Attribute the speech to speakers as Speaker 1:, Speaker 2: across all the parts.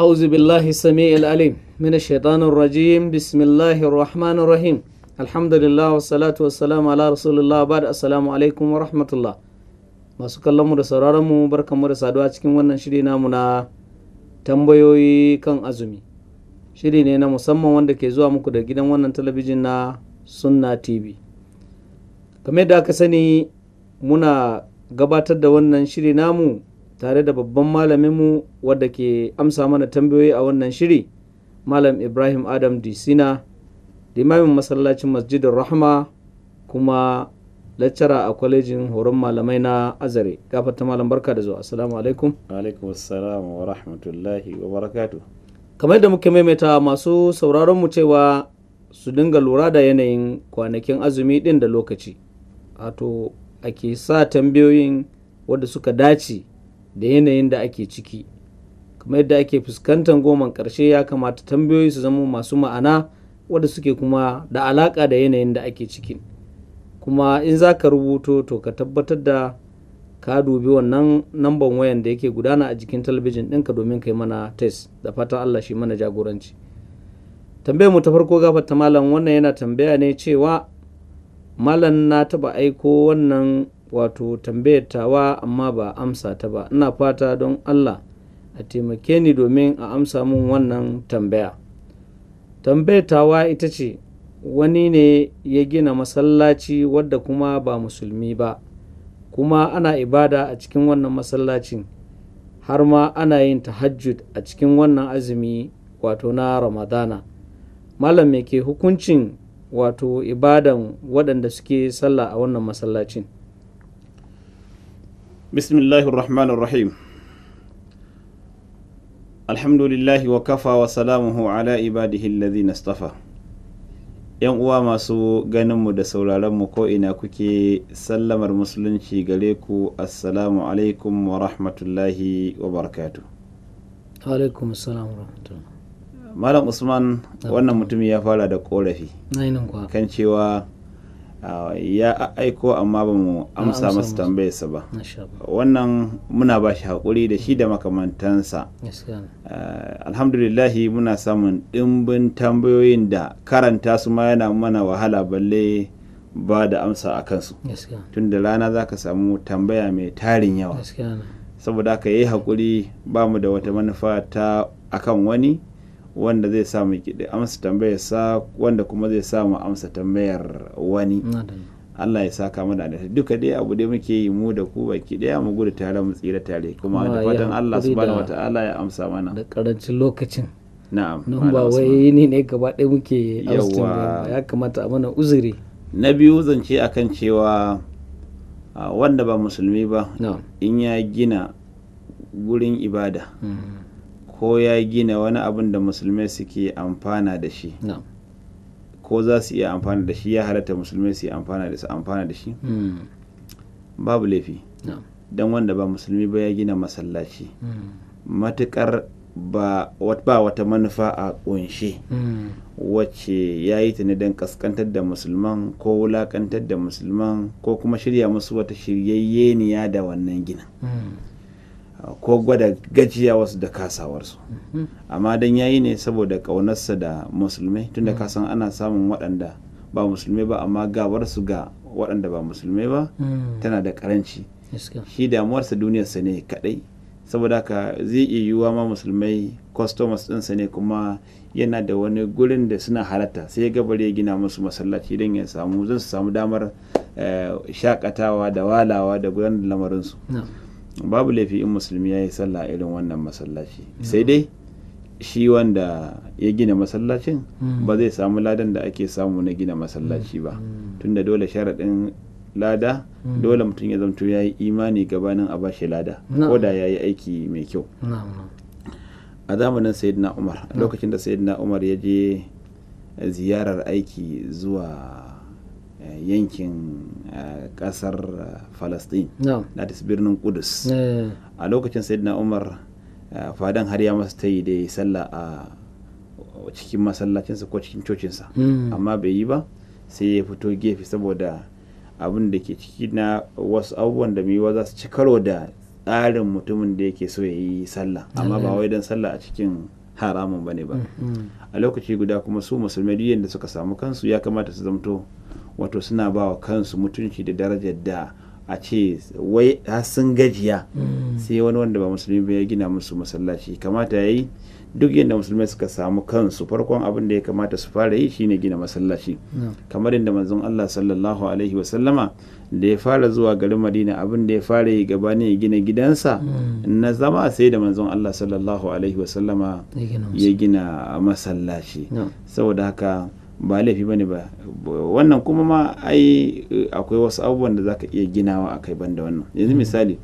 Speaker 1: أعوذ بالله السميع العليم من الشيطان الرجيم بسم الله الرحمن الرحيم الحمد لله والصلاة والسلام على رسول الله بعد السلام عليكم ورحمة الله masu kallon mu da sauraron mu barkanmu da saduwa cikin wannan shiri namu na tambayoyi kan azumi shiri ne na musamman wanda ke zuwa muku da gidan wannan talabijin na sunna tv kamar yadda aka sani muna gabatar da wannan shiri namu tare da babban malaminmu wadda ke amsa mana tambayoyi a wannan shiri malam ibrahim adam disina limamin masallacin masjidin rahma kuma lecturer a kwalejin horon malamai na azare gafata malam barka da zuwa assalamu alaikum
Speaker 2: alaikum assalam wa rahmatullahi wa barakatu
Speaker 1: kamar da muke maimaita masu sauraron mu cewa su dinga lura da yanayin kwanakin azumi din da lokaci wato ake sa tambayoyin wadda suka dace da yanayin da ake ciki kamar yadda ake fuskantar goman ƙarshe ya kamata tambayoyi su zama masu ma'ana wadda suke kuma da alaƙa da yanayin da ake ciki kuma in za ka rubuto to ka tabbatar da ka dubi wannan namban wayan da yake gudana a jikin talabijin ɗinka domin kai mana test da fatan allah shi mana jagoranci tambayar mu ta farko gafata malam wannan yana tambaya ne cewa malam na taɓa aiko wannan wato tambayar tawa amma ba amsa ta ba ina fata don allah a taimake ni domin a amsa min wannan tambaya tambayar tawa ita ce wani ne ya gina masallaci wadda kuma ba musulmi ba kuma ana ibada a cikin wannan masallacin har ma ana yin tahajjud a cikin wannan azumi wato na ramadana malam me ke hukuncin wato ibadan waɗanda suke sallah a wannan masallacin
Speaker 2: بسم الله الرحمن الرحيم الحمد لله وكفى وسلامه على عباده الذين اصطفى yan uwa masu ganinmu da sauraronmu ko ina kuke sallamar musulunci gare ku assalamu alaikum wa rahmatullahi wa barakatu
Speaker 1: alaikum salam rahmatullah
Speaker 2: malam usman wannan mutum ya fara da korafi
Speaker 1: ainihin kwa
Speaker 2: kan cewa ah, ya aiko amma ba mu
Speaker 1: amsa
Speaker 2: amsa masa
Speaker 1: masa.
Speaker 2: tambayarsa ba
Speaker 1: masha Allah
Speaker 2: wannan muna ba shi haƙuri da shi da makamantansa
Speaker 1: gaskiya ne
Speaker 2: Eh, alhamdulillahi muna samun ɗimbin tambayoyin da karanta su ma yana mana wahala balle ba da amsa a kansu
Speaker 1: gaskiya ne
Speaker 2: tun da rana za ka samu tambaya mai tarin yawa
Speaker 1: gaskiya ne
Speaker 2: saboda haka yi haƙuri ba mu da wata manufa ta akan wani wanda zai sa mu kiɗi amsa tambayar sa wanda kuma zai sa mu amsa tambayar wani
Speaker 1: na da ni.
Speaker 2: Allah ya saka mu da alheri duka dai abu dai muke yi mu da ku baki daya mu gudu tare mu tsira tare kuma
Speaker 1: Kuma
Speaker 2: da
Speaker 1: ya
Speaker 2: fatan Allah
Speaker 1: haƙuri
Speaker 2: subhanahu
Speaker 1: da-
Speaker 2: wataala ya amsa mana
Speaker 1: da karancin lokacin
Speaker 2: na'am
Speaker 1: nan
Speaker 2: Malam
Speaker 1: ba
Speaker 2: Usman.
Speaker 1: wai ni ne gaba ɗaya muke
Speaker 2: Yawwa.
Speaker 1: austin ba ya kamata a mana uzuri
Speaker 2: na biyu zance akan cewa ah, wanda ba musulmi ba
Speaker 1: na
Speaker 2: in ya gina gurin ibada
Speaker 1: Mm,
Speaker 2: ko ya gina wani abin da musulmai suke amfana da shi
Speaker 1: na
Speaker 2: ko za su iya amfana da shi ya halatta musulmai su yi amfana da su amfana da shi
Speaker 1: Mm.
Speaker 2: babu laifi
Speaker 1: na
Speaker 2: dan wanda ba musulmi ba ya gina masallaci
Speaker 1: Mm.
Speaker 2: matukar ba wat- ba wata manufa a kunshe
Speaker 1: Mm.
Speaker 2: wacce ya yi ta ne don kaskantar da musulman ko wulakantar da musulman ko kuma shirya musu wata shiryayyeniya da wannan ginin
Speaker 1: Mm.
Speaker 2: ko gwada gajiya wasu da kasawarsu
Speaker 1: Mm.
Speaker 2: amma don ya yi ne saboda ƙaunarsa da musulmai tunda ka san ana samun waɗanda ba musulmai ba amma gabarsu ga waɗanda ba musulmai ba
Speaker 1: Mm.
Speaker 2: tana da ƙaranci
Speaker 1: gaskiya
Speaker 2: shi damuwarsa duniyarsa ne kaɗai saboda haka zai iya yiwuwa ma musulmai customers ɗinsa ne kuma yana da wani gurin da suna halatta sai ya gabar ya gina musu masallaci don ya samu zan su samu damar eh, shakatawa da walawa da gudanar da lamarinsu
Speaker 1: na
Speaker 2: babu laifi in musulmi ya yi sallah a irin wannan masallaci sai dai shi wanda ya gina masallacin
Speaker 1: Mm.
Speaker 2: ba zai samu ladan da ake samu na gina masallaci ba
Speaker 1: Mm.
Speaker 2: tunda dole sharaɗin lada
Speaker 1: Mm.
Speaker 2: dole mutum ya zamto ya yi imani gabanin a bashi lada
Speaker 1: Na'am.
Speaker 2: ko da ya yi aiki mai kyau
Speaker 1: na na
Speaker 2: a zamanin sayyidina umar a lokacin da sayyidina umar ya je ziyarar aiki zuwa eh, yankin eh, ƙasar eh, falastin
Speaker 1: na
Speaker 2: that is birnin kudus
Speaker 1: Eh,
Speaker 2: a lokacin sayyidina umar eh, fadan har ya masa ta yi da ya yi sallah a cikin masallacinsa ko cikin cocinsa
Speaker 1: mm.
Speaker 2: amma bai yi ba sai ya fito gefe saboda abin da ke ciki na wasu abubuwan da mai za su ci karo da tsarin mutumin da yake so ya yi sallah amma ba wai don sallah a cikin haramun ba ne
Speaker 1: mm,
Speaker 2: ba a lokaci guda kuma su musulmai duk yadda suka samu kansu ya kamata su zamto wato suna ba wa kansu mutunci da darajar da a ce wai har sun gajiya sai wani wanda ba musulmi ba ya gina musu masallaci kamata ya yi duk yadda musulmai suka samu kansu farkon abin da ya kamata su fara yi shine gina masallaci kamar yadda manzon Allah sallallahu alaihi wasallama da ya fara zuwa garin Madina abin da ya fara yi gabanin ya gina gidansa na zama sai da manzon Allah sallallahu alaihi wasallama ya gina masallaci saboda haka ba laifi bane ba wannan kuma ma ai eh, akwai wasu abubuwan da zaka iya ginawa akai banda wannan yanzu misali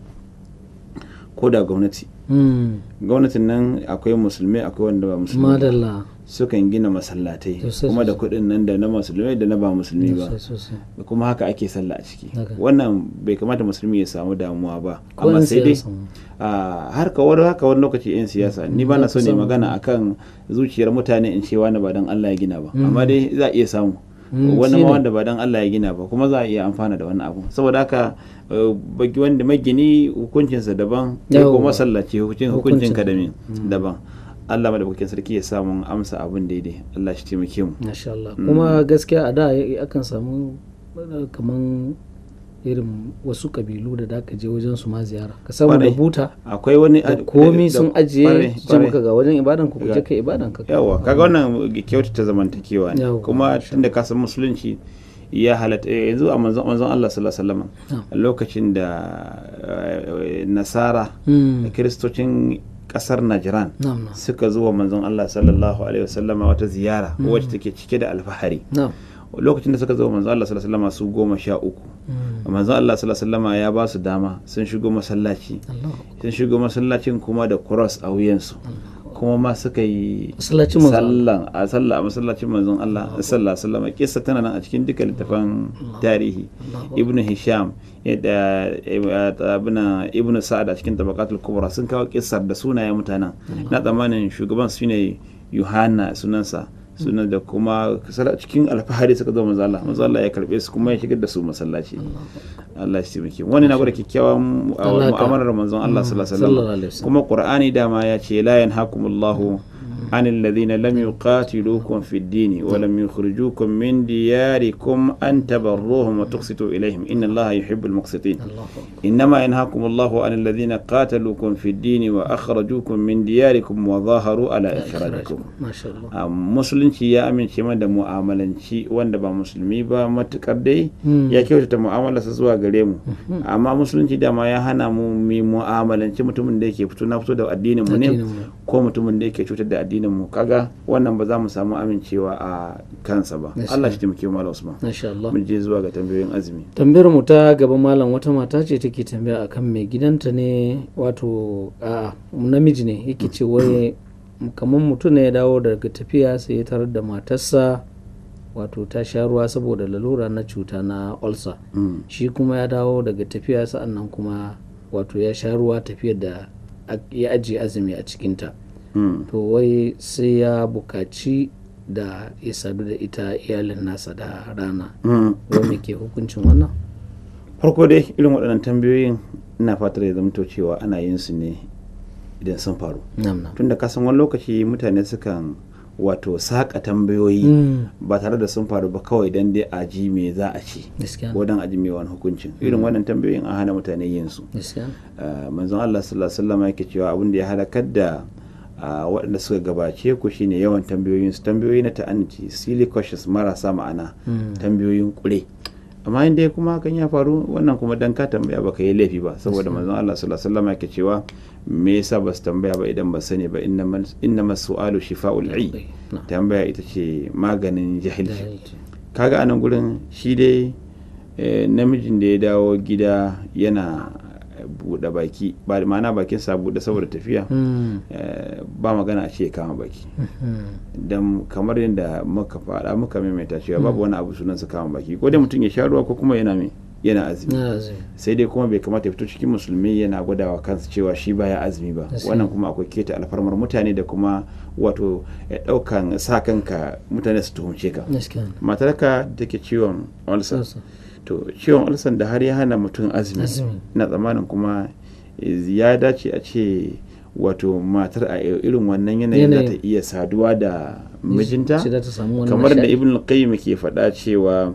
Speaker 2: ko da gwamnati
Speaker 1: Mm,
Speaker 2: gwamnatin nan akwai musulmai akwai wanda ba musulmai sukan gina masallatai kuma da kuɗin nan da na musulmai da na ba musulmi ba kuma haka ake sallah a ciki wannan bai kamata musulmi ya samu damuwa ba amma sai dai Ah, har kawar haka wani lokaci 'yan siyasa ni ba na so ne magana akan zuciyar mutane in cewa na ba don Allah ya gina ba amma dai za a iya samu wani ma wanda ba don Allah ya gina ba kuma za a iya amfana da wani abu saboda haka eh, wanda magini hukuncinsa daban kai kuma masallaci hukuncin ka daban Allah madaukakin sarki ya samu amsa abin daidai Allah shi taimake mu
Speaker 1: masha Allah
Speaker 2: Mm.
Speaker 1: kuma gaskiya a da akan samu eh, kaman irin wasu kabilu da daka je wajen su ma ziyara ka samu da buta
Speaker 2: akwai wani
Speaker 1: komi sun ajiye jama'a ga wajen ibadan ku je kai ibadan ka
Speaker 2: yawa kaga wannan kyautata zamantakewa ne kuma tunda ka san musulunci ya halatta eh, yanzu a manzon manzon Allah sallallahu alaihi wasallam lokacin da eh, nasara
Speaker 1: Mm.
Speaker 2: kristocin kasar Najran suka zo wa manzon Allah sallallahu alaihi wasallama wata ziyara wacce take cike da alfahari lokacin da suka zo manzon Allah sallallahu alaihi wasallama su goma sha uku
Speaker 1: Mm.
Speaker 2: manzon Allah sallallahu alaihi wasallama ya ba su dama sun shigo masallaci sun shigo masallacin kuma da cross a wuyansu kuma ma suka yi sallan a sallah a masallacin manzon Allah sallallahu alaihi wasallam kissa tana nan a cikin duka littafan tarihi ibn hisham eh, da ibn sa'ad a cikin tabaqatul kubra sun kawo kissar da sunayen mutanen na tsammanin shugaban shine yohana sunansa sunan da kuma cikin alfahari suka zo manzo Allah manzo Allah ya karbe su kuma ya shigar da su masallaci Allah shi taimake wani na gwada kyakkyawan mu'amalar manzon Allah sallallahu alaihi wasallam kuma Qur'ani dama ya ce la yanhakumullahu عن الذين لم يقاتلوكم في الدين ولم يخرجوكم من دياركم أن تبروهم وتقسطوا إليهم إن الله يحب المقسطين إنما ينهاكم الله عن الذين قاتلوكم في الدين وأخرجوكم من دياركم وظاهروا على إخراجكم آه، ما شاء الله مسلم يا أمين شما da mu'amalanci wanda ba musulmi ba matukar dai
Speaker 1: Mm.
Speaker 2: ya kyautata mu'amala sa zuwa gare mu amma musulunci dama ya hana mu mu mu'amalanci mutumin da yake fito na fito da addinin mu ne ko mutumin da yake cutar da addinin addinin mu kaga wannan ba za mu samu amincewa a kansa ba Allah shi taimake mu Malam Usman
Speaker 1: insha Allah
Speaker 2: mun je zuwa ga tambayoyin azumi
Speaker 1: tambayar mu ta gaba malam wata mata ce take tambaya akan mai gidanta ne wato a namiji ne yake ce wai kamar mutum ne ya dawo daga tafiya sai ya tarar da matarsa wato ta sha ruwa saboda lalura na cuta na ulcer shi kuma ya dawo daga tafiya sa'annan kuma wato ya sha ruwa tafiyar da ya ajiye azumi a cikinta Mm. to wai sai ya bukaci da ya sadu da ita iyalin nasa da rana mm. wanda ke hukuncin wannan
Speaker 2: farko dai irin waɗannan tambayoyin ina fatar ya zamto cewa ana yin su ne idan sun faru tunda kasan wani lokaci mutane sukan wato saƙa tambayoyi mm. ba tare da sun faru ba kawai don dai aji me za a ce ko don aji me wani hukuncin irin mm. wannan tambayoyin an hana mutane yin su uh, manzon Allah sallallahu alaihi wasallam yake cewa abin da ya halakar da a uh, waɗanda suka gabace ku shine yawan tambayoyin su tambayoyi na ta'anci silly questions marasa ma'ana mm. tambayoyin kure amma inda kuma hakan ya faru wannan kuma dan ka tambaya baka yi laifi ba saboda manzon Allah sallallahu alaihi wasallam yake cewa me yasa ba su tambaya ba idan ba sani ba inna mas su'alu shifa'ul i tambaya ita ce maganin jahilci kaga anan gurin shi dai eh, namijin da ya dawo gida yana buɗe baki ba ma'ana bakin sa buɗe saboda tafiya
Speaker 1: Mm.
Speaker 2: Mm. eh, ba magana a ce kama baki
Speaker 1: Mhm.
Speaker 2: don kamar yadda muka faɗa muka maimaita cewa babu wani abu sunan su kama baki ko dai mutum ya sha ruwa ko kuma yana mai yana azumi sai dai kuma bai kamata ya fito cikin musulmi yana gwadawa kansa cewa shi baya azumi ba wannan kuma akwai keta alfarmar mutane da kuma wato eh, ɗaukan sa kanka mutane su tuhumce ka matarka da ke ciwon ulcer to ciwon ulsan da har ya hana mutum azumi na tsammanin kuma eh, ya dace a ce wato matar a irin wannan yanayin za ta
Speaker 1: Yanayin.
Speaker 2: iya saduwa da mijinta
Speaker 1: Sai za ta samu wani
Speaker 2: kamar da
Speaker 1: nishaɗi.
Speaker 2: ibn qayyim ke faɗa cewa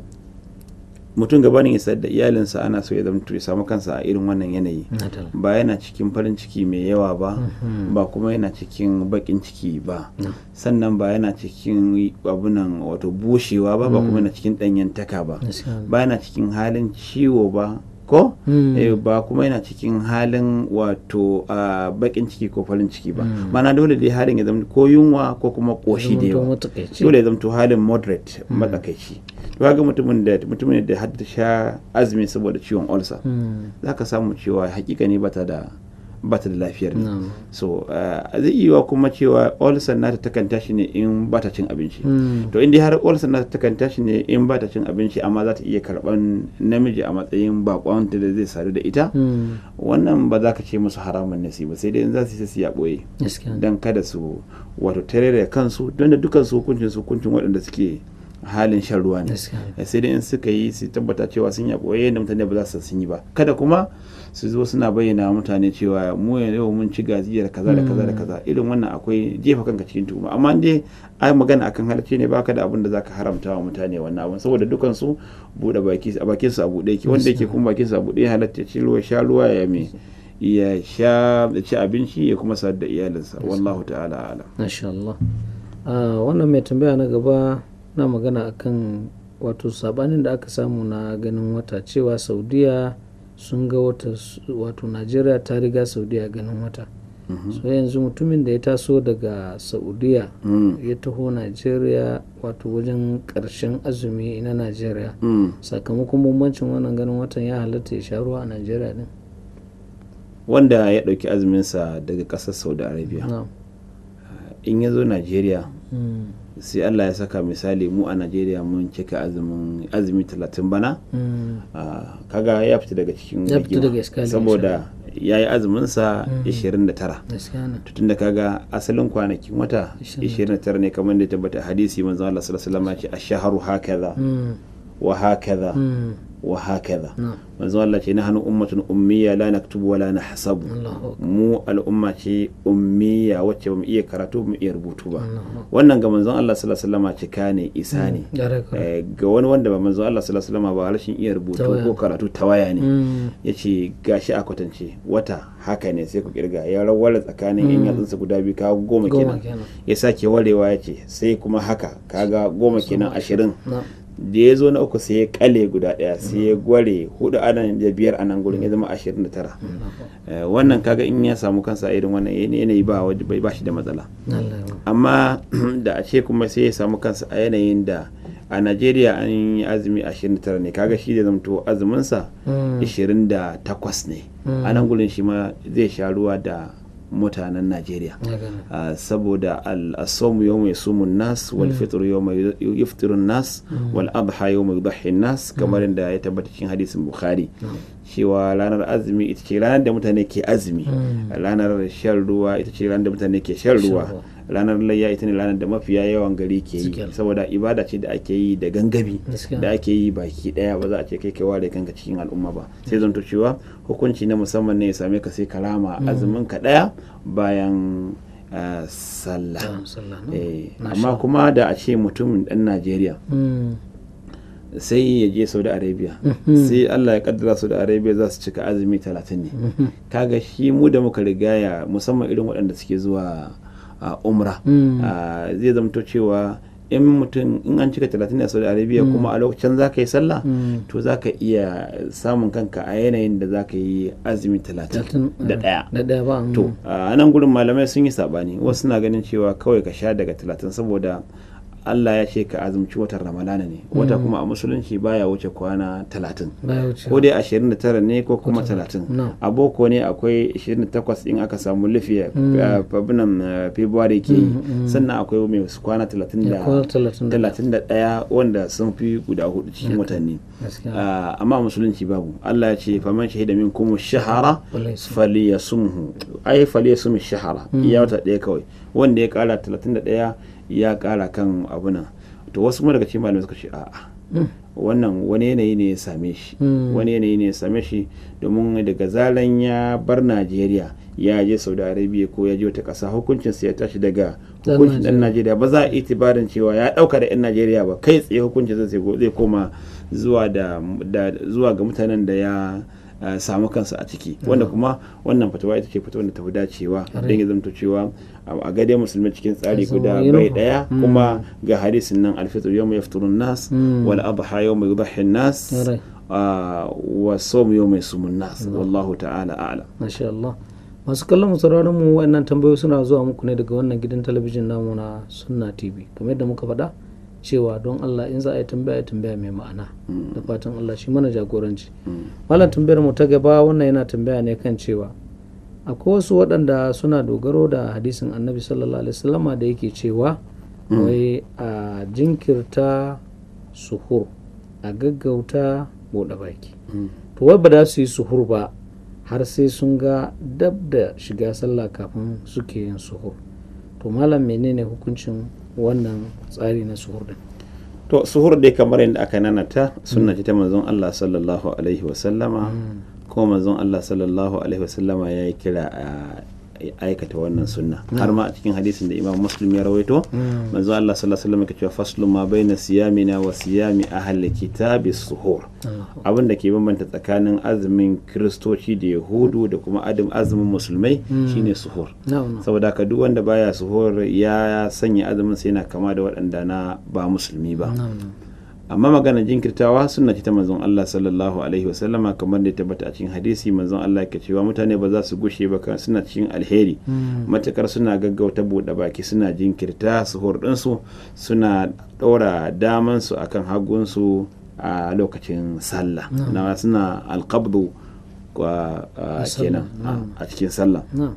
Speaker 2: mutum gabanin ya sayar da iyalinsa ana so ya zama ya samu kansa a irin wannan yanayi
Speaker 1: Natal.
Speaker 2: ba yana cikin farin ciki mai yawa ba
Speaker 1: Mhm.
Speaker 2: ba kuma yana cikin bakin ciki ba
Speaker 1: Mm.
Speaker 2: sannan ba yana cikin abunan wato bushewa ba ba kuma yana cikin ɗanyantaka ba
Speaker 1: Mm. Gaskiya.
Speaker 2: ba yana cikin halin ciwo ba ko
Speaker 1: Mm.
Speaker 2: Eh, ba kuma yana cikin halin wato a bakin ciki ko farin ciki ba
Speaker 1: Mm.
Speaker 2: mana dole dai halin ya zama ko yunwa ko kuma koshi da
Speaker 1: Zamanto
Speaker 2: yawa
Speaker 1: matsakaici.
Speaker 2: dole ya zamto halin moderate matsakaici to kaga mutumin da mutumin da har ta sha azumi saboda ciwon ulcer
Speaker 1: Mm.
Speaker 2: zaka samu cewa hakika ne bata da bata da lafiyar ne
Speaker 1: Na'am.
Speaker 2: so eh, zai iya yiwa kuma cewa ulcer nata takan tashi ne in bata cin abinci
Speaker 1: Mm.
Speaker 2: to in dai har ulcer nata takan tashi ne in bata cin abinci amma za ta iya karban namiji a matsayin bakon da zai sadu da ita
Speaker 1: Mm.
Speaker 2: wannan ba za ka ce musu haramun nasi ba sai dai in za su yi sai su yi a ɓoye
Speaker 1: Gaskiya.
Speaker 2: don kada su wato tarere kansu don da dukkan su hukuncin su hukuncin waɗanda suke halin shan ruwa ne
Speaker 1: Gaskiya.
Speaker 2: Eh, sai dai in suka yi su tabbata cewa sun yi ɓoye da mutane ba za su san sun yi ba kada kuma su zo suna bayyana wa mutane cewa mu yau mun ci gajiyar kaza da kaza da kaza irin wannan akwai jefa kanka cikin tuhuma amma in dai ai magana akan halarci ne baka da abin da zaka haramta wa mutane wannan abin saboda dukan su bude baki a bakin su a bude yake wanda yake kuma bakin su a bude ya halatta ya ci ruwa sha ruwa ya me ya sha ya ci abinci ya kuma sadar da iyalinsa wallahu ta'ala alam
Speaker 1: Masha Allah. Ah, wannan mai tambaya na gaba na magana akan wato sabanin da aka samu na ganin wata cewa saudiya sun ga wata s- wato najeriya ta riga saudiya ganin wata so yanzu mutumin da ya taso daga saudiya
Speaker 2: Mm.
Speaker 1: ya taho najeriya wato wajen karshen azumi na najeriya
Speaker 2: Mm.
Speaker 1: sakamakon bambancin wannan ganin watan ya halatta ya sha ruwa a najeriya din
Speaker 2: wanda ya ɗauki azuminsa daga ƙasar saudi arabia
Speaker 1: na'am
Speaker 2: in ya zo najeriya
Speaker 1: Mm.
Speaker 2: sai Allah ya saka misali mu a Najeriya mun cika azumin azumi talatin bana
Speaker 1: Mm.
Speaker 2: ah, kaga ya fita daga cikin
Speaker 1: Ya fita
Speaker 2: rigima.
Speaker 1: daga iskali,
Speaker 2: saboda ya yi azuminsa
Speaker 1: Mm.
Speaker 2: 29
Speaker 1: gaskiya ne
Speaker 2: tun da kaga asalin kwanakin wata
Speaker 1: 29
Speaker 2: 29 ne kamar da ya tabbata a hadisi manzo Allah sallallahu alaihi wasallam ya ce ash-shahru hakaza
Speaker 1: Mm.
Speaker 2: wa hakaza
Speaker 1: Mm.
Speaker 2: wa hakaza
Speaker 1: na'am
Speaker 2: manzo Allah ce nahnu ummatun ummiya la naktubu wa la nahsabu
Speaker 1: Allahu akbar.
Speaker 2: mu al'umma ce ummiya wacce bamu iya karatu bamu iya rubutu ba
Speaker 1: Allahu akbar.
Speaker 2: wannan ga manzon Allah sallallahu alaihi wasallam cika ne isa ne
Speaker 1: Yare ka.
Speaker 2: Eh, ga wani wanda ba manzon Allah sallallahu alaihi wasallam ba rashin iya rubutu
Speaker 1: Tawaya.
Speaker 2: ko karatu tawaya ne
Speaker 1: Mm.
Speaker 2: yace gashi a kwatance wata haka ne sai ku kirga ya rawar tsakanin yan yatsunsa guda biyu ka
Speaker 1: Goma
Speaker 2: goma kenan
Speaker 1: kenan.
Speaker 2: ya sake warewa yace sai kuma haka kaga goma kenan ashirin
Speaker 1: Na.
Speaker 2: da ya zo na uku sai ya kale guda daya sai ya gware hudu anan da biyar anan gurin ya zama ashirin da tara
Speaker 1: Hmm.
Speaker 2: Eh, wannan kaga in ya samu kansa a irin wannan yanayi ba wajen- ba shi da matsala
Speaker 1: Allah ya
Speaker 2: amma da a ce kuma sai ya samu kansa a yanayin da a najeriya an yi azumi 29 ne kaga shi da zamto azuminsa
Speaker 1: Mm.
Speaker 2: 28 ne a nan gurin shi ma zai sha ruwa da mutanen najeriya
Speaker 1: Ya gane.
Speaker 2: Ah, saboda al-asamu yawma yasumun nas wal
Speaker 1: Mm.
Speaker 2: fitr yawma yuftirun nas wal adha yawma yudhi nas
Speaker 1: Mm.
Speaker 2: kamar da ya tabbata cikin hadisin bukhari cewa ranar azumi ita ce ranar da mutane ke azumi ranar shan ruwa ita ce ranar da mutane ke shan ruwa
Speaker 1: Mm. ruwa.
Speaker 2: ranar layya ita ne ranar da mafiya yawan gari ke yi
Speaker 1: Suke.
Speaker 2: saboda ibada ce da ake yi da gangami
Speaker 1: Gaskiya.
Speaker 2: da ake yi baki daya ba za a ce kai ka ware kanka cikin al'umma ba sai zanto cewa hukunci na musamman ne ya same ka sai ka rama
Speaker 1: Mm.
Speaker 2: azumin ka daya bayan ah,
Speaker 1: Ta
Speaker 2: sallah
Speaker 1: sallah na.
Speaker 2: Eh,
Speaker 1: Masha
Speaker 2: amma
Speaker 1: Allah.
Speaker 2: kuma da a ce mutumin dan najeriya
Speaker 1: Mm.
Speaker 2: sai ya je saudi arabia
Speaker 1: Mm-hmm.
Speaker 2: sai allah ya kaddara saudi arabia za su cika azumi talatin ne
Speaker 1: Mm-hmm.
Speaker 2: kaga shi mu da muka rigaya musamman irin waɗanda suke zuwa ah, a umra
Speaker 1: Mm.
Speaker 2: a, Ah, zai zamto cewa in mutum in an cika talatin ne a saudi arabia kuma a lokacin za ka yi sallah
Speaker 1: Mm.
Speaker 2: to za ka iya samun kanka a yanayin da za ka yi azumi talatin
Speaker 1: Talatin,
Speaker 2: da
Speaker 1: mm.
Speaker 2: ɗaya
Speaker 1: Da ɗaya ba. mm.
Speaker 2: to a nan gurin malamai sun yi sabani wasu suna ganin cewa kawai ka sha daga talatin saboda Allah ya ce ka azumci watan Ramadana ne
Speaker 1: Mm.
Speaker 2: wata kuma a musulunci baya wuce kwana talatin
Speaker 1: Baya wuce.
Speaker 2: ko dai 29 ne ko kuma 30
Speaker 1: No.
Speaker 2: a boko ne akwai 28 in aka samu eh, lifiya
Speaker 1: Mm.
Speaker 2: fabinan eh, february ke yi sannan akwai mai su kwana 30 da
Speaker 1: Ya kwana 30 da-
Speaker 2: 31 wanda sun fi guda hudu cikin watanni
Speaker 1: Gaskiya.
Speaker 2: Ah, amma musulunci babu Allah ya ce faman shahida min kuma shahara
Speaker 1: Falyasum.
Speaker 2: falyasumhu ai falyasum shahara
Speaker 1: Mm.
Speaker 2: iya wata ɗaya kawai wanda ya kara 31 ya kara kan abuna to wasu kuma daga cikin malamai suka ce a'a wannan wani yanayi ne ya same shi
Speaker 1: Mm.
Speaker 2: wani yanayi ne ya same shi domin daga zalan ya bar najeriya ya je saudi arabia ko ya je wata ƙasa hukuncinsa ya tashi daga
Speaker 1: Dan
Speaker 2: hukuncin ɗan najeriya ba za a itibarin cewa ya ɗauka da 'yan najeriya ba kai tsaye hukuncin zai go- zai koma zuwa da da- zuwa ga mutanen da ya ah, samu kansa a ciki wanda kuma wannan fatawa ita ce fatawa da tafi dacewa
Speaker 1: Ƙwarai.
Speaker 2: don ya zamto cewa a a gade musulmi cikin tsari
Speaker 1: Kasan
Speaker 2: guda
Speaker 1: wani
Speaker 2: bai
Speaker 1: ruhu.
Speaker 2: daya
Speaker 1: Mm.
Speaker 2: kuma ga hadisin nan alfitr yawma yafturun nas
Speaker 1: Mm.
Speaker 2: wal adha yawma yudhi nas
Speaker 1: Ƙwarai.
Speaker 2: ah, wa sawm yawma yasumun nas wallahu ta'ala a'lam
Speaker 1: Masha Allah. Masu kallon mu sauraron mu wayannan tambayoyi suna zuwa muku ne daga wannan gidan talabijin namu na Sunna TV. Kamar yadda muka faɗa cewa don Allah in za a yi tambaya a yi tambaya mai ma'ana. Da fatan Allah shi mana jagoranci. Malam tambayar mu ta gaba wannan yana tambaya ne kan cewa akwai wasu waɗanda suna dogaro da hadisin Annabi sallallahu alaihi wasallama da yake cewa wai a jinkirta suhur a gaggauta buɗe baki. to wai ba za su yi suhur ba har sai sun ga dab da shiga sallah kafin suke yin suhur to malam menene hukuncin wannan tsari na suhur din
Speaker 2: to suhur dai kamar yadda aka nanata sunna ce ta manzon Allah sallallahu alaihi wa sallama kuma manzon Allah sallallahu alaihi wa sallama ya yi kira a aikata wannan sunna har ma a cikin hadisin da Imam Muslim ya rawaito manzon Allah sallallahu alaihi wa sallama yake cewa faslu ma baina siyamina wa siyami ahli kitabi suhur abin da ke bambanta tsakanin azumin kiristoci da yahudu da kuma adam azumin musulmai shine suhur
Speaker 1: na'am
Speaker 2: saboda haka duk wanda baya suhur ya sanya azumin sai yana kama da waɗanda na ba musulmi ba
Speaker 1: na'am
Speaker 2: amma magana jinkirtawa suna ce ta manzon Allah sallallahu alaihi wasallama kamar da ya tabbata a cikin hadisi manzon Allah yake cewa mutane ba za su gushe ba kan suna cikin alheri matakar suna gaggauta buɗe baki suna jinkirta suhur ɗinsu suna ɗora damansu akan hagunsu a lokacin sallah na suna alƙabdu kwa- a-
Speaker 1: Na sallah,
Speaker 2: kenan a- a cikin sallah
Speaker 1: na'am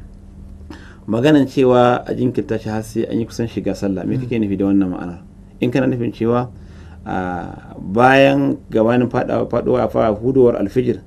Speaker 2: maganan cewa a jinkirta shi har sai an yi kusan shiga sallah me kake nufi da wannan ma'ana in kana nufin cewa a bayan gabanin fadawa faduwa a fara hudowar alfijir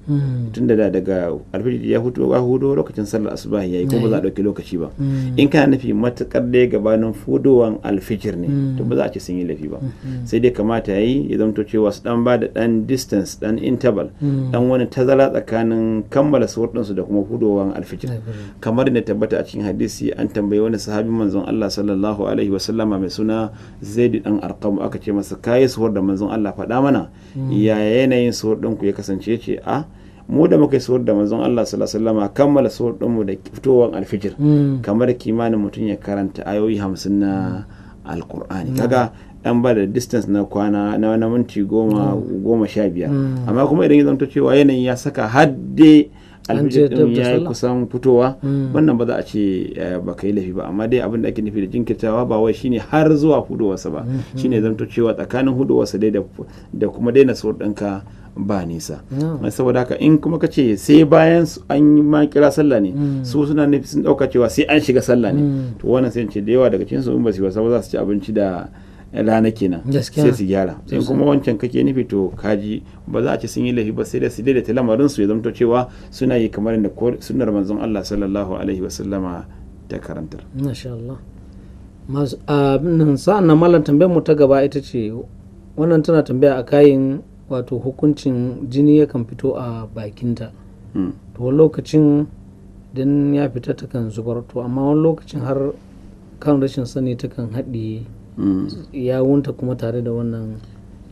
Speaker 2: tun da daga alfijir ya hudu ya hudo lokacin sallar asuba yayi ko ba za a dauki lokaci ba in kana nufi matukar dai gabanin hudowan alfijir ne to ba za a ce sun yi lafi ba sai dai kamata yayi ya zamto cewa su dan ba da dan distance dan interval dan wani tazara tsakanin kammala suwar su da kuma hudowan alfijir kamar da tabbata a cikin hadisi an tambayi wani sahabi manzon Allah sallallahu alaihi wasallama mai suna Zaid dan Arqam aka ce masa kai suwar da manzon Allah faɗa mana
Speaker 1: Hmm.
Speaker 2: ya yanayin suwar ɗin ku ya kasance ce a mu da muka yi suwar da manzon Allah sallallahu alaihi wasallama kammala suwar ɗin mu da fitowar alfijir
Speaker 1: Hmm.
Speaker 2: kamar kimanin mutum ya karanta ayoyi hamsin na
Speaker 1: Hmm.
Speaker 2: alkur'ani kaga dan ba da distance na kwana na na minti goma
Speaker 1: Hmm.
Speaker 2: goma sha biyar amma kuma idan ya zanto cewa yanayin ya saka hadde
Speaker 1: An je
Speaker 2: alfijir din
Speaker 1: dab da
Speaker 2: ya yi
Speaker 1: sallah.
Speaker 2: kusan fitowa
Speaker 1: Mm.
Speaker 2: wannan ba za a ce eh, ba ka yi laifi ba amma dai abin da ake nufi da jinkirtawa ba wai shine har zuwa hudowarsa ba shine ya zanto cewa tsakanin hudowarsa dai da- da kuma daina suwar ɗinka ba nisa
Speaker 1: na'am
Speaker 2: saboda haka in kuma ka ce sai bayan su- an yi ma kira sallah ne
Speaker 1: Mm.
Speaker 2: su suna nufi sun dauka cewa sai an shiga sallah ne
Speaker 1: Mm.
Speaker 2: to wannan sai in ce da yawa daga cikin su in ba su yi wasa ba za su ci abinci da rana kenan
Speaker 1: Gaskiya.
Speaker 2: sai su gyara in kuma wancan kake nufi to kaji ba za a ce sun yi laifi ba sai da su daidaita lamarin su ya zamto cewa suna yi kamar da ko- sunnar manzon Allah sallallahu alaihi wasallama ta karantar
Speaker 1: Masha Allah. Mas- abin nan, sa'an nan malam tambayar mu ta gaba ita ce wannan tana tambaya a kayan wato hukuncin jini yakan fito a bakinta.
Speaker 2: Mm.
Speaker 1: To wani lokacin idan ya fita takan zubar to amma wani lokacin har kan rashin sani takan haɗiye
Speaker 2: Mm.
Speaker 1: yawunta kuma tare da wannan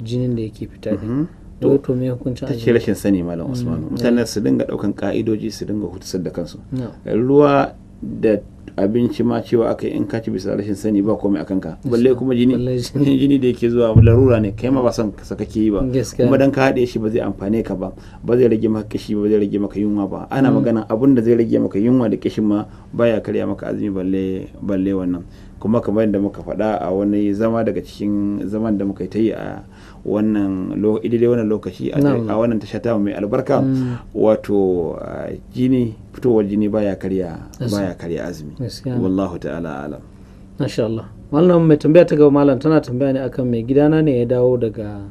Speaker 1: jinin da yake fita
Speaker 2: Mhm.
Speaker 1: din. To to me hukuncin
Speaker 2: ta
Speaker 1: a
Speaker 2: ce
Speaker 1: jini?
Speaker 2: rashin sani
Speaker 1: Hmm.
Speaker 2: malam Usman mutane su dinga daukan ka'idoji su dinga hutusar da kansu
Speaker 1: No.
Speaker 2: ruwa da abinci ma cewa aka yi in ka ci bisa rashin sani ba komai akan ka balle kuma jini
Speaker 1: Balle jini.
Speaker 2: jini da yake zuwa larura ne kai ma ba son sa kake yi ba
Speaker 1: Gaskiya.
Speaker 2: kuma dan ka haɗe shi ba zai amfane ka ba ba zai rage maka kishi ba zai rage maka yunwa ba
Speaker 1: Mm.
Speaker 2: ana magana abun da zai rage maka yunwa da kishin ma baya karya maka azumi balle balle wannan kuma kamar yadda muka faɗa a wani zama daga cikin zaman da muka yi ta yi a wannan lo- idai wannan lokaci a
Speaker 1: Na'am. Mm.
Speaker 2: a wannan tasha ta mai albarka wato ah, jini fitowar jini baya karya baya karya azumi
Speaker 1: Gaskiya ne.
Speaker 2: wallahu ta'ala alam
Speaker 1: Masha Allah. Malam mai tambaya ta gaba malam tana tambaya ne akan mai gidana ne ya dawo daga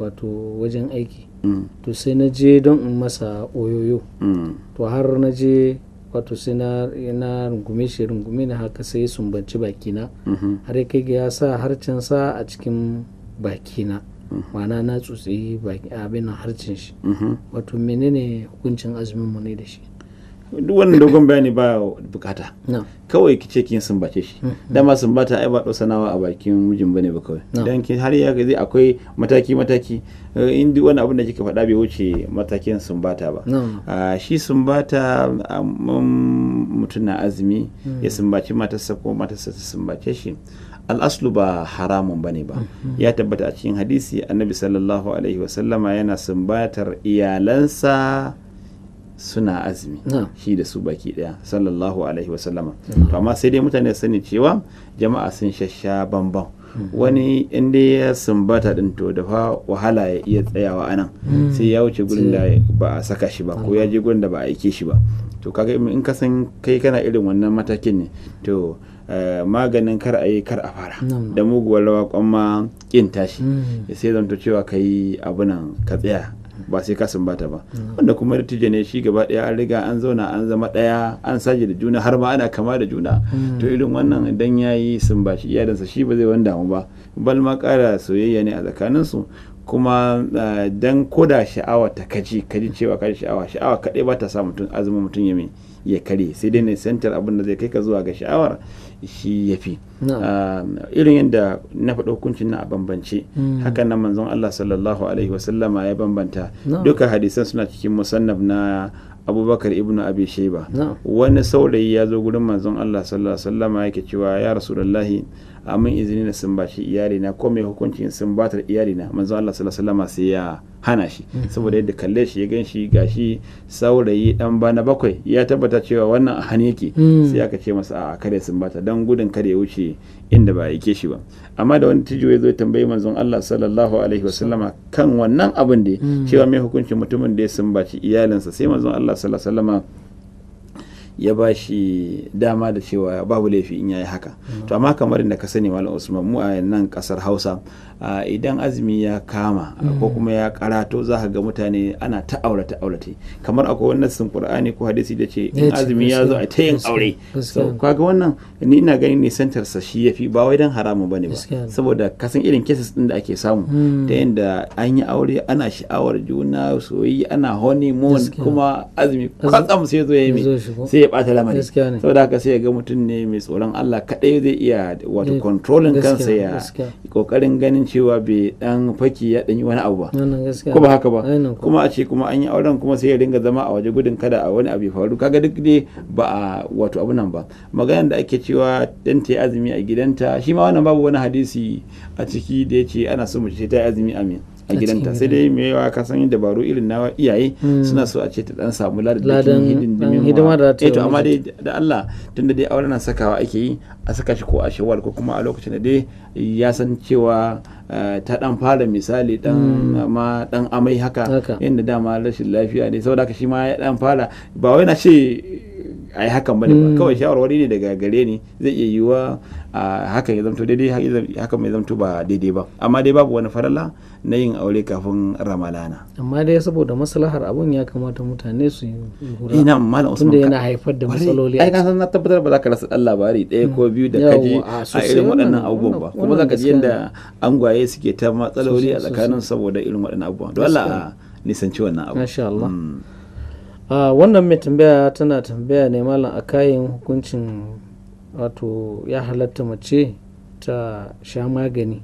Speaker 1: wato wajen aiki.
Speaker 2: Mm,
Speaker 1: To sai na je don in masa oyoyo.
Speaker 2: mm,
Speaker 1: To har na je wato sai na na rungume shi rungume na haka sai ya sumbanci bakina.
Speaker 2: mhm,
Speaker 1: Har ya kai ga ya sa harcensa a cikin bakina. ma'ana na tsotsi baki- abin nan harcin shi
Speaker 2: Mhm.
Speaker 1: wato menene hukuncin azumin mu ne da shi
Speaker 2: duk wannan dogon bayani ba bukata
Speaker 1: na
Speaker 2: kawai ki ce kin sumbace shi dama sumbata ai ba sanawa a bakin mijin bane ba kawai
Speaker 1: No.
Speaker 2: dan ki har ya ga zai akwai mataki mataki eh, in duk wani abin da kika faɗa bai wuce matakin sumbata ba
Speaker 1: na
Speaker 2: Ah, shi sumbata ah, mm, mutum na azumi ya sumbaci matarsa ko matarsa ta sumbace shi al'aslu ba haramun bane ba ya tabbata a cikin hadisi annabi sallallahu alaihi wasallama yana sumbatar iyalansa suna azumi
Speaker 1: na
Speaker 2: shi da su baki daya sallallahu alaihi wasallama
Speaker 1: Mhm.
Speaker 2: to amma sai dai mutane su sani cewa jama'a sun shasha bamban
Speaker 1: Mm.
Speaker 2: wani inda ya sumbata din to da fa wahala ya iya tsayawa anan
Speaker 1: Mm.
Speaker 2: sai ya wuce gurin da ba a saka shi ba ko ya je gurin da ba a aike shi ba to kaga in ka san kai kana irin wannan matakin ne to eh, maganin kar a yi kar a fara
Speaker 1: Na'am.
Speaker 2: da muguwar rawa kwamma kin tashi
Speaker 1: Mm.
Speaker 2: ya Eh, sai zanto cewa ka yi abunan ka tsaya ba sai ka sumbata ba wanda kuma dattijo ne shi gaba daya an riga an zauna an zama daya an saje da juna har ma ana kama da juna to irin wannan idan ya yi sumbaci iyalinsa shi ba zai wani damu ba bal ma kara soyayya ne a tsakaninsu kuma ah, dan koda sha'awa ta kaji kaji cewa kaji sha'awa sha'awa kaɗai ba ta sa mutum azumin mutum ya mai ya kare sai dai ne sentar abin da zai kai ka zuwa ga sha'awar shi ya fi
Speaker 1: Na'am.
Speaker 2: Ah, irin yadda na faɗa hukuncin na a bambance
Speaker 1: Mm.
Speaker 2: haka nan manzon Allah sallallahu alaihi wasallama ya bambanta
Speaker 1: Na'am.
Speaker 2: duka hadisan suna cikin musannaf na abubakar ibn abi shaiba
Speaker 1: Na'am.
Speaker 2: wani saurayi ya zo gurin manzon Allah sallallahu alaihi wasallama yake cewa ya rasulullahi amin izini na sumbaci iyalina ko mai hukuncin sumbatar iyalina manzon Allah sallallahu alaihi wasallama sai ya hana shi saboda yadda kalle shi ya gan shi gashi saurayi dan bana bakwai ya tabbata cewa wannan a hani yake
Speaker 1: Mm.
Speaker 2: sai aka ce masa a kare sumbata don gudun kare ya wuce inda ba a yake shi ba amma da wani tijo ya zo ya tambayi manzon Allah sallallahu alaihi wasallama kan wannan abin da
Speaker 1: Mm.
Speaker 2: cewa mai hukuncin mutumin da ya sumbaci iyalinsa sai manzon Allah sallallahu alaihi wasallama ya ba shi dama da cewa babu laifi in yayi haka to amma kamar da ka sani malam Usman mu a nan kasar Hausa ah, idan azumi ya kama ah,
Speaker 1: Mm.
Speaker 2: ko kuma ya karato za ka ga mutane ana ta aurata aurate kamar akwai wannan sun Qur'ani ko hadisi da ce in
Speaker 1: Ya ce
Speaker 2: azumi ya zo a ta yin
Speaker 1: gaskiya,
Speaker 2: aure
Speaker 1: gaskiya.
Speaker 2: so kaga wannan ni ina ganin nisantar sa shi yafi ba wai dan haramun bane ba
Speaker 1: Gaskiya ne.
Speaker 2: saboda kasan irin cases din da ake samu
Speaker 1: Mm.
Speaker 2: ta yadda an yi aure ana sha'awar juna soyayya ana honeymoon
Speaker 1: Gaskiya.
Speaker 2: kuma azumi
Speaker 1: Azu-
Speaker 2: kwatsam sai zo ya yi
Speaker 1: ya zo
Speaker 2: mai
Speaker 1: shigo.
Speaker 2: sai ya bata lamari
Speaker 1: Gaskiya ne.
Speaker 2: saboda haka sai ya ga mutum ne mai tsoron Allah kadai zai iya wato
Speaker 1: Zai-
Speaker 2: controlling
Speaker 1: Eh, gaskiya,
Speaker 2: kansa ya
Speaker 1: gaskiya.
Speaker 2: kokarin ganin cewa bai dan faki ya dan yi wani abu ba
Speaker 1: wannan gaskiya
Speaker 2: ko ba haka ba
Speaker 1: Ainihin ko.
Speaker 2: kuma a ce kuma an yi auren kuma sai ya ringa zama a waje gudun kada a wani abu ya faru kaga duk dai ba a wato abu nan ba maganar da ake cewa dan ta yi azumi a gidanta shi ma wannan babu wani hadisi a ciki da ya ce ana so mace ta yi azumi a me- a
Speaker 1: A cikin Hmm.
Speaker 2: gidanta sai dai me yawa ka san dabaru irin na iyaye suna so a ce ta dan samu
Speaker 1: Ladan-
Speaker 2: ladan
Speaker 1: dan hidima da ta yi
Speaker 2: eh to
Speaker 1: wa
Speaker 2: amma dai da Allah tunda dai auren nan sakawa ake yi a saka shi ko a shawar ko kuma a lokacin da dai ya san cewa eh, ta dan fara misali dan ma dan amai haka
Speaker 1: Haka.
Speaker 2: yadda dama rashin lafiya ne saboda haka shi ma ya dan fara ba wai na ce a yi hakan bane
Speaker 1: Mm.
Speaker 2: ba kawai shawarwari ne daga gare ni zai iya yiwuwa a hakan ya zamto daidai ha- ya zam- hakan mai zamto ba daidai ba amma dai babu wani farala na yin aure kafin ramalana
Speaker 1: amma dai saboda maslahar abun ya kamata mutane su yi hura
Speaker 2: ina malam
Speaker 1: tunda
Speaker 2: usman ka-
Speaker 1: yana haifar da
Speaker 2: Kwarai.
Speaker 1: matsaloli
Speaker 2: ai ka san na tabbatar ba za ka rasa ɗan labari ɗaya ko biyu da
Speaker 1: Yawwa,
Speaker 2: kaji
Speaker 1: a
Speaker 2: a
Speaker 1: sosai
Speaker 2: irin
Speaker 1: wannan-
Speaker 2: waɗannan abubuwan ba
Speaker 1: wannan-
Speaker 2: kuma za ka ji
Speaker 1: wannan
Speaker 2: yadda angwaye suke ta matsaloli a
Speaker 1: Sosai,
Speaker 2: tsakanin saboda irin waɗannan abubuwan don Allah a nisanci wannan abu
Speaker 1: masha Allah
Speaker 2: Mm.
Speaker 1: a wannan mai tambaya tana tambaya ne malam a kayan hukuncin wato ya halatta mace ta sha magani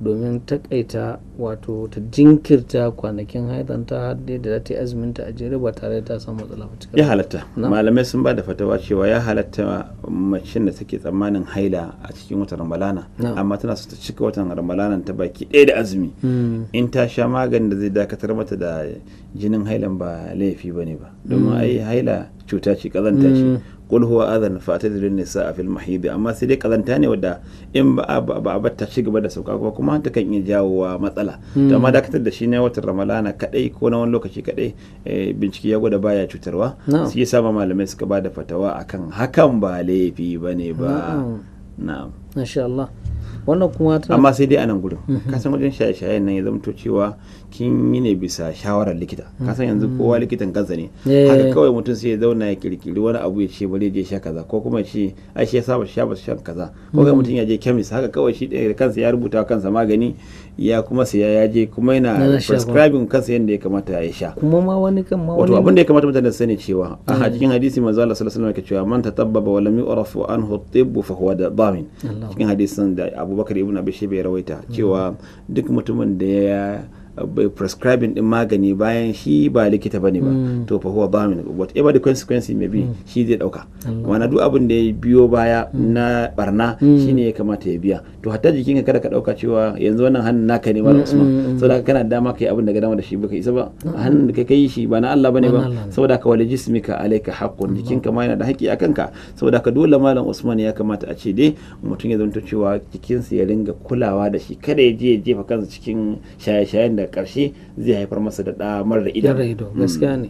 Speaker 1: domin takaita wato ta jinkirta kwanakin haidanta har dai da za ta yi azuminta a jere ba tare da ta samu matsala ba
Speaker 2: ya
Speaker 1: cikin
Speaker 2: halatta malamai sun ba da fatawa cewa ya halatta macen da take tsammanin haila a cikin watan ramalana
Speaker 1: Na'am.
Speaker 2: amma tana so ta cika watan ramalanan ta baki ɗaya da azumi
Speaker 1: Hmm,
Speaker 2: in ta sha maganin da zai dakatar mata da jinin hailan ba laifi ba ne ba
Speaker 1: Mm.
Speaker 2: domin ai haila cuta ce kazanta ce kul huwa adhan fa tadrin nisa a fil mahidi amma sai dai kazanta ne wadda in ba a ba ba a batta ci gaba da sauka ko kuma ta kan iya jawowa matsala
Speaker 1: Mm.
Speaker 2: to amma dakatar da shi ne watan ramalana kadai ko na wani lokaci kadai eh, bincike ya gwada baya cutarwa
Speaker 1: Na'am.
Speaker 2: shi yasa ma malamai suka ba da fatawa akan hakan ba laifi ba ne ba
Speaker 1: na'am.
Speaker 2: na'am
Speaker 1: Masha Allah. wannan kuma tana
Speaker 2: amma sai dai a nan gurin
Speaker 1: Mhm.
Speaker 2: kasan wajen shaye-shayen nan ya zamto cewa kin yi ne bisa shawarar likita kasan yanzu kowa likitan kansa ne
Speaker 1: Mhm. Eh.
Speaker 2: haka kawai mutum sai ya zauna ya kirkiri wani abu ya ce bari ya je sha kaza ko kuma ya ce ai shi ya saba sha ba shan kaza
Speaker 1: Mhm.
Speaker 2: ko ga mutum ya je chemist haka kawai shi da kansa ya rubuta wa kansa magani ya kuma siya ya je kuma
Speaker 1: Yana
Speaker 2: yana
Speaker 1: sha ba.
Speaker 2: prescribing kansa yadda ya kamata ya sha
Speaker 1: kuma ma wani kan ma wani
Speaker 2: wato
Speaker 1: Mm.
Speaker 2: abin da ya kamata mutane su sani cewa a cikin hadisi manzo Allah sallallahu alaihi wasallam yake cewa man tatabbaba wa lam yu'raf anhu at-tibb fa huwa da- damin
Speaker 1: Allah.
Speaker 2: cikin hadisin da Abubakar ibn Abi Shayba ya rawaita cewa
Speaker 1: Mm.
Speaker 2: duk mutumin da ya bai prescribing din magani bayan shi ba likita bane
Speaker 1: Mm.
Speaker 2: ba to fa huwa damin whatever the consequence may be shi zai dauka wana duk abin da ya biyo baya
Speaker 1: Mm.
Speaker 2: na barna shine ya kamata ya biya to hatta jikinka kada ka dauka cewa yanzu wannan hannun naka ne
Speaker 1: Mm,
Speaker 2: malam Usman saboda kana da dama kai abin da ga dama da shi baka isa ba hannun da kai kai shi ba na Allah
Speaker 1: Ba na
Speaker 2: bane ba
Speaker 1: Allah ne. Mm.
Speaker 2: saboda ka wale jismika alaika haqqun jikinka ma yana da haƙƙi a kanka saboda ka dole malam Usman ya kamata a ce dai mutum ya zanto cewa jikinsa ya ringa kulawa da shi kada ya je ya jefa kansa cikin shaye-shayen da ƙarshe zai haifar masa da ɗa marar ido Mm.
Speaker 1: gyara ido gaskiya ne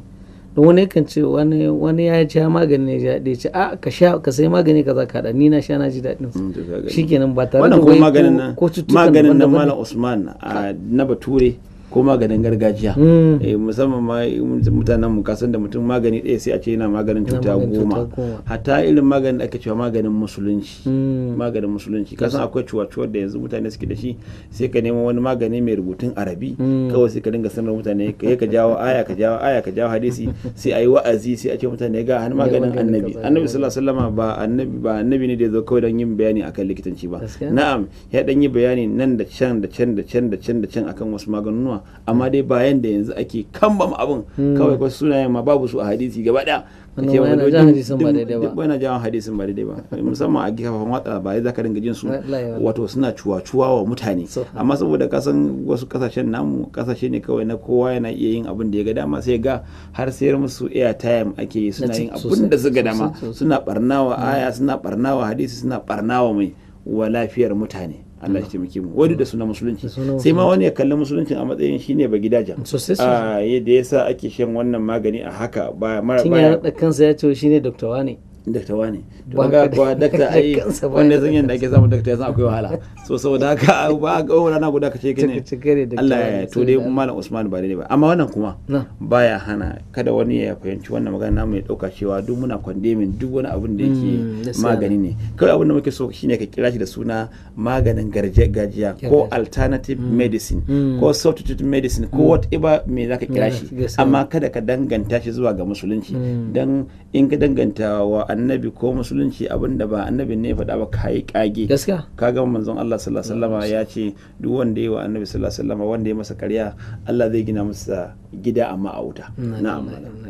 Speaker 1: don wani kan ce wani wani ya sha magani ne ya daɗe ce a ka sha ka sai magani kaza ka haɗa. ni na sha na ji daɗin sa
Speaker 2: Mm, to ka gani.
Speaker 1: shikenan ba tare da
Speaker 2: wannan kuma
Speaker 1: wai ko-
Speaker 2: maganin nan
Speaker 1: ko cututtukan
Speaker 2: maganin nan
Speaker 1: daban-daban
Speaker 2: malam Usman a- na bature ko maganin gargajiya
Speaker 1: Mm.
Speaker 2: Eh, musamman ma mutanen mu kasan da mutum magani ɗaya sai a ce yana maganin cuta
Speaker 1: maganin cuta
Speaker 2: goma
Speaker 1: goma.
Speaker 2: hatta irin maganin da ake cewa maganin musulunci
Speaker 1: Mm.
Speaker 2: maganin musulunci kasan akwai cuwa-cuwar da yanzu mutane suke da shi sai ka nemo wani magani mai rubutun arabi
Speaker 1: Mm.
Speaker 2: kawai sai ka dinga sanar mutane kai ka jawo aya ka jawo aya ka jawo hadisi sai ayi wa'azi sai a ce mutane ga hannun maganin
Speaker 1: maganin
Speaker 2: annabi
Speaker 1: kaza,
Speaker 2: annabi sallallahu alaihi wasallam ba annabi ba annabi ne da ya zo kawai don yin bayani akan likitanci ba
Speaker 1: Gaskiya.
Speaker 2: na'am ya dan yi bayani nan da can da can da can da can da can akan wasu maganunuwa amma dai bayan da yanzu ake kambam abin kawai wasu sunayen ma babu su a hadisi gaba daya
Speaker 1: Mm. Wannan
Speaker 2: Ka ce
Speaker 1: ma yana
Speaker 2: wani
Speaker 1: jan
Speaker 2: duk-
Speaker 1: hadisin ba
Speaker 2: duk-
Speaker 1: daidai ba.
Speaker 2: duk yana jawo hadisin ba daidai ba musamman a kafafen watsa labarai zaka dinga jin su
Speaker 1: Wallahi, wallahi.
Speaker 2: wato suna cuwa-cuwa wa mutane
Speaker 1: So-
Speaker 2: amma saboda kasan wasu kasashen namu kasashe ne kawai na kowa yana iya yin abin da ya ga dama sai ga har sayar musu airtime ake yi suna yin abin da suka dama
Speaker 1: sosai, sosai.
Speaker 2: suna barnawa aya suna barnawa hadisi suna barnawa mai wa lafiyar mutane Allah shi taimake mu wani da suna musulunci
Speaker 1: Da sunan
Speaker 2: sai ma wani ya kalli musuluncin a matsayin shine ba gidajen
Speaker 1: Sosai, sosai.
Speaker 2: a yadda yasa ake shan wannan magani a haka ba mara
Speaker 1: tun ya
Speaker 2: baya
Speaker 1: raɗa kansa ya ce shi ne dokta wane
Speaker 2: dakta wane to
Speaker 1: Ba
Speaker 2: kaga
Speaker 1: ka
Speaker 2: kuwa
Speaker 1: da-
Speaker 2: dakta
Speaker 1: da
Speaker 2: ai
Speaker 1: kansa ba
Speaker 2: wanda
Speaker 1: ya
Speaker 2: zan yanda ake samun dakta ya san akwai wahala so saboda haka ba ga rana guda ka ce kine
Speaker 1: Cike-cike ne dakta
Speaker 2: Allah
Speaker 1: wane,
Speaker 2: ya to dai
Speaker 1: saboda-
Speaker 2: malam Usman ba daidai ba amma wannan kuma
Speaker 1: Na.
Speaker 2: baya hana kada wani ya fahimci wannan magana namu ya dauka cewa duk muna condemning duk wani abin da
Speaker 1: Mm,
Speaker 2: yake
Speaker 1: gaskiya
Speaker 2: magani ne kawai abin da muke so shine ka kira shi da suna maganin gargajiya ko
Speaker 1: Gargajiya.
Speaker 2: alternative medicine
Speaker 1: Mm.
Speaker 2: ko substitute medicine ko whatever me zaka kira
Speaker 1: Yeah,
Speaker 2: shi
Speaker 1: gaskiya. Mm.
Speaker 2: amma kada ka danganta shi zuwa ga musulunci dan in ka danganta wa annabi ko musulunci abinda ba annabi ne ya faɗa ba kai kage
Speaker 1: gaskiya
Speaker 2: kaga manzon Allah sallallahu alaihi wasallama ya ce duk wanda ya wa annabi sallallahu alaihi wasallama wanda ya masa karya Allah zai gina masa gida amma a wuta na'am malam.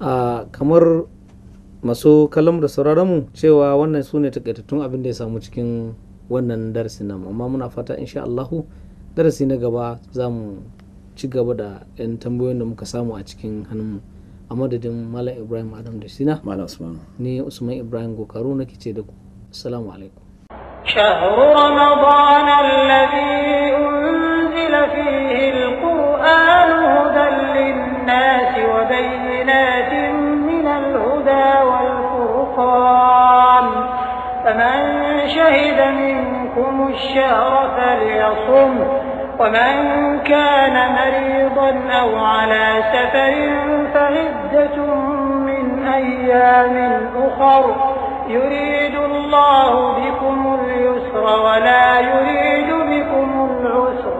Speaker 1: a kamar masu kalam da sauraronmu cewa wannan su ne takaitattun abin da ya samu cikin wannan darasi namu amma muna fata insha Allahu darasi na gaba za mu ci gaba da 'yan tambayoyin da muka samu a cikin hannunmu a madadin malam ibrahim adam da sina
Speaker 2: Mm, malam Usman
Speaker 1: ni usman ibrahim gokaru nake ce da ku assalamu alaikum
Speaker 3: شهر رمضان الذي أنزل فيه القرآن هدى للناس وبينات من الهدى والفرقان فمن شهد منكم الشهر فليصم ومن كان مريضا أو على سفر فعدة من أيام أخر يريد الله بكم اليسر ولا يريد بكم العسر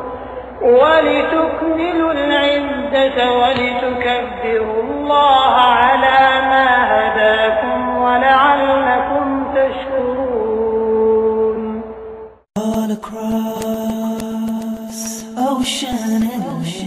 Speaker 3: ولتكملوا العدة ولتكبروا الله على ما هداكم ولعلكم تشكرون
Speaker 4: all across ocean and land.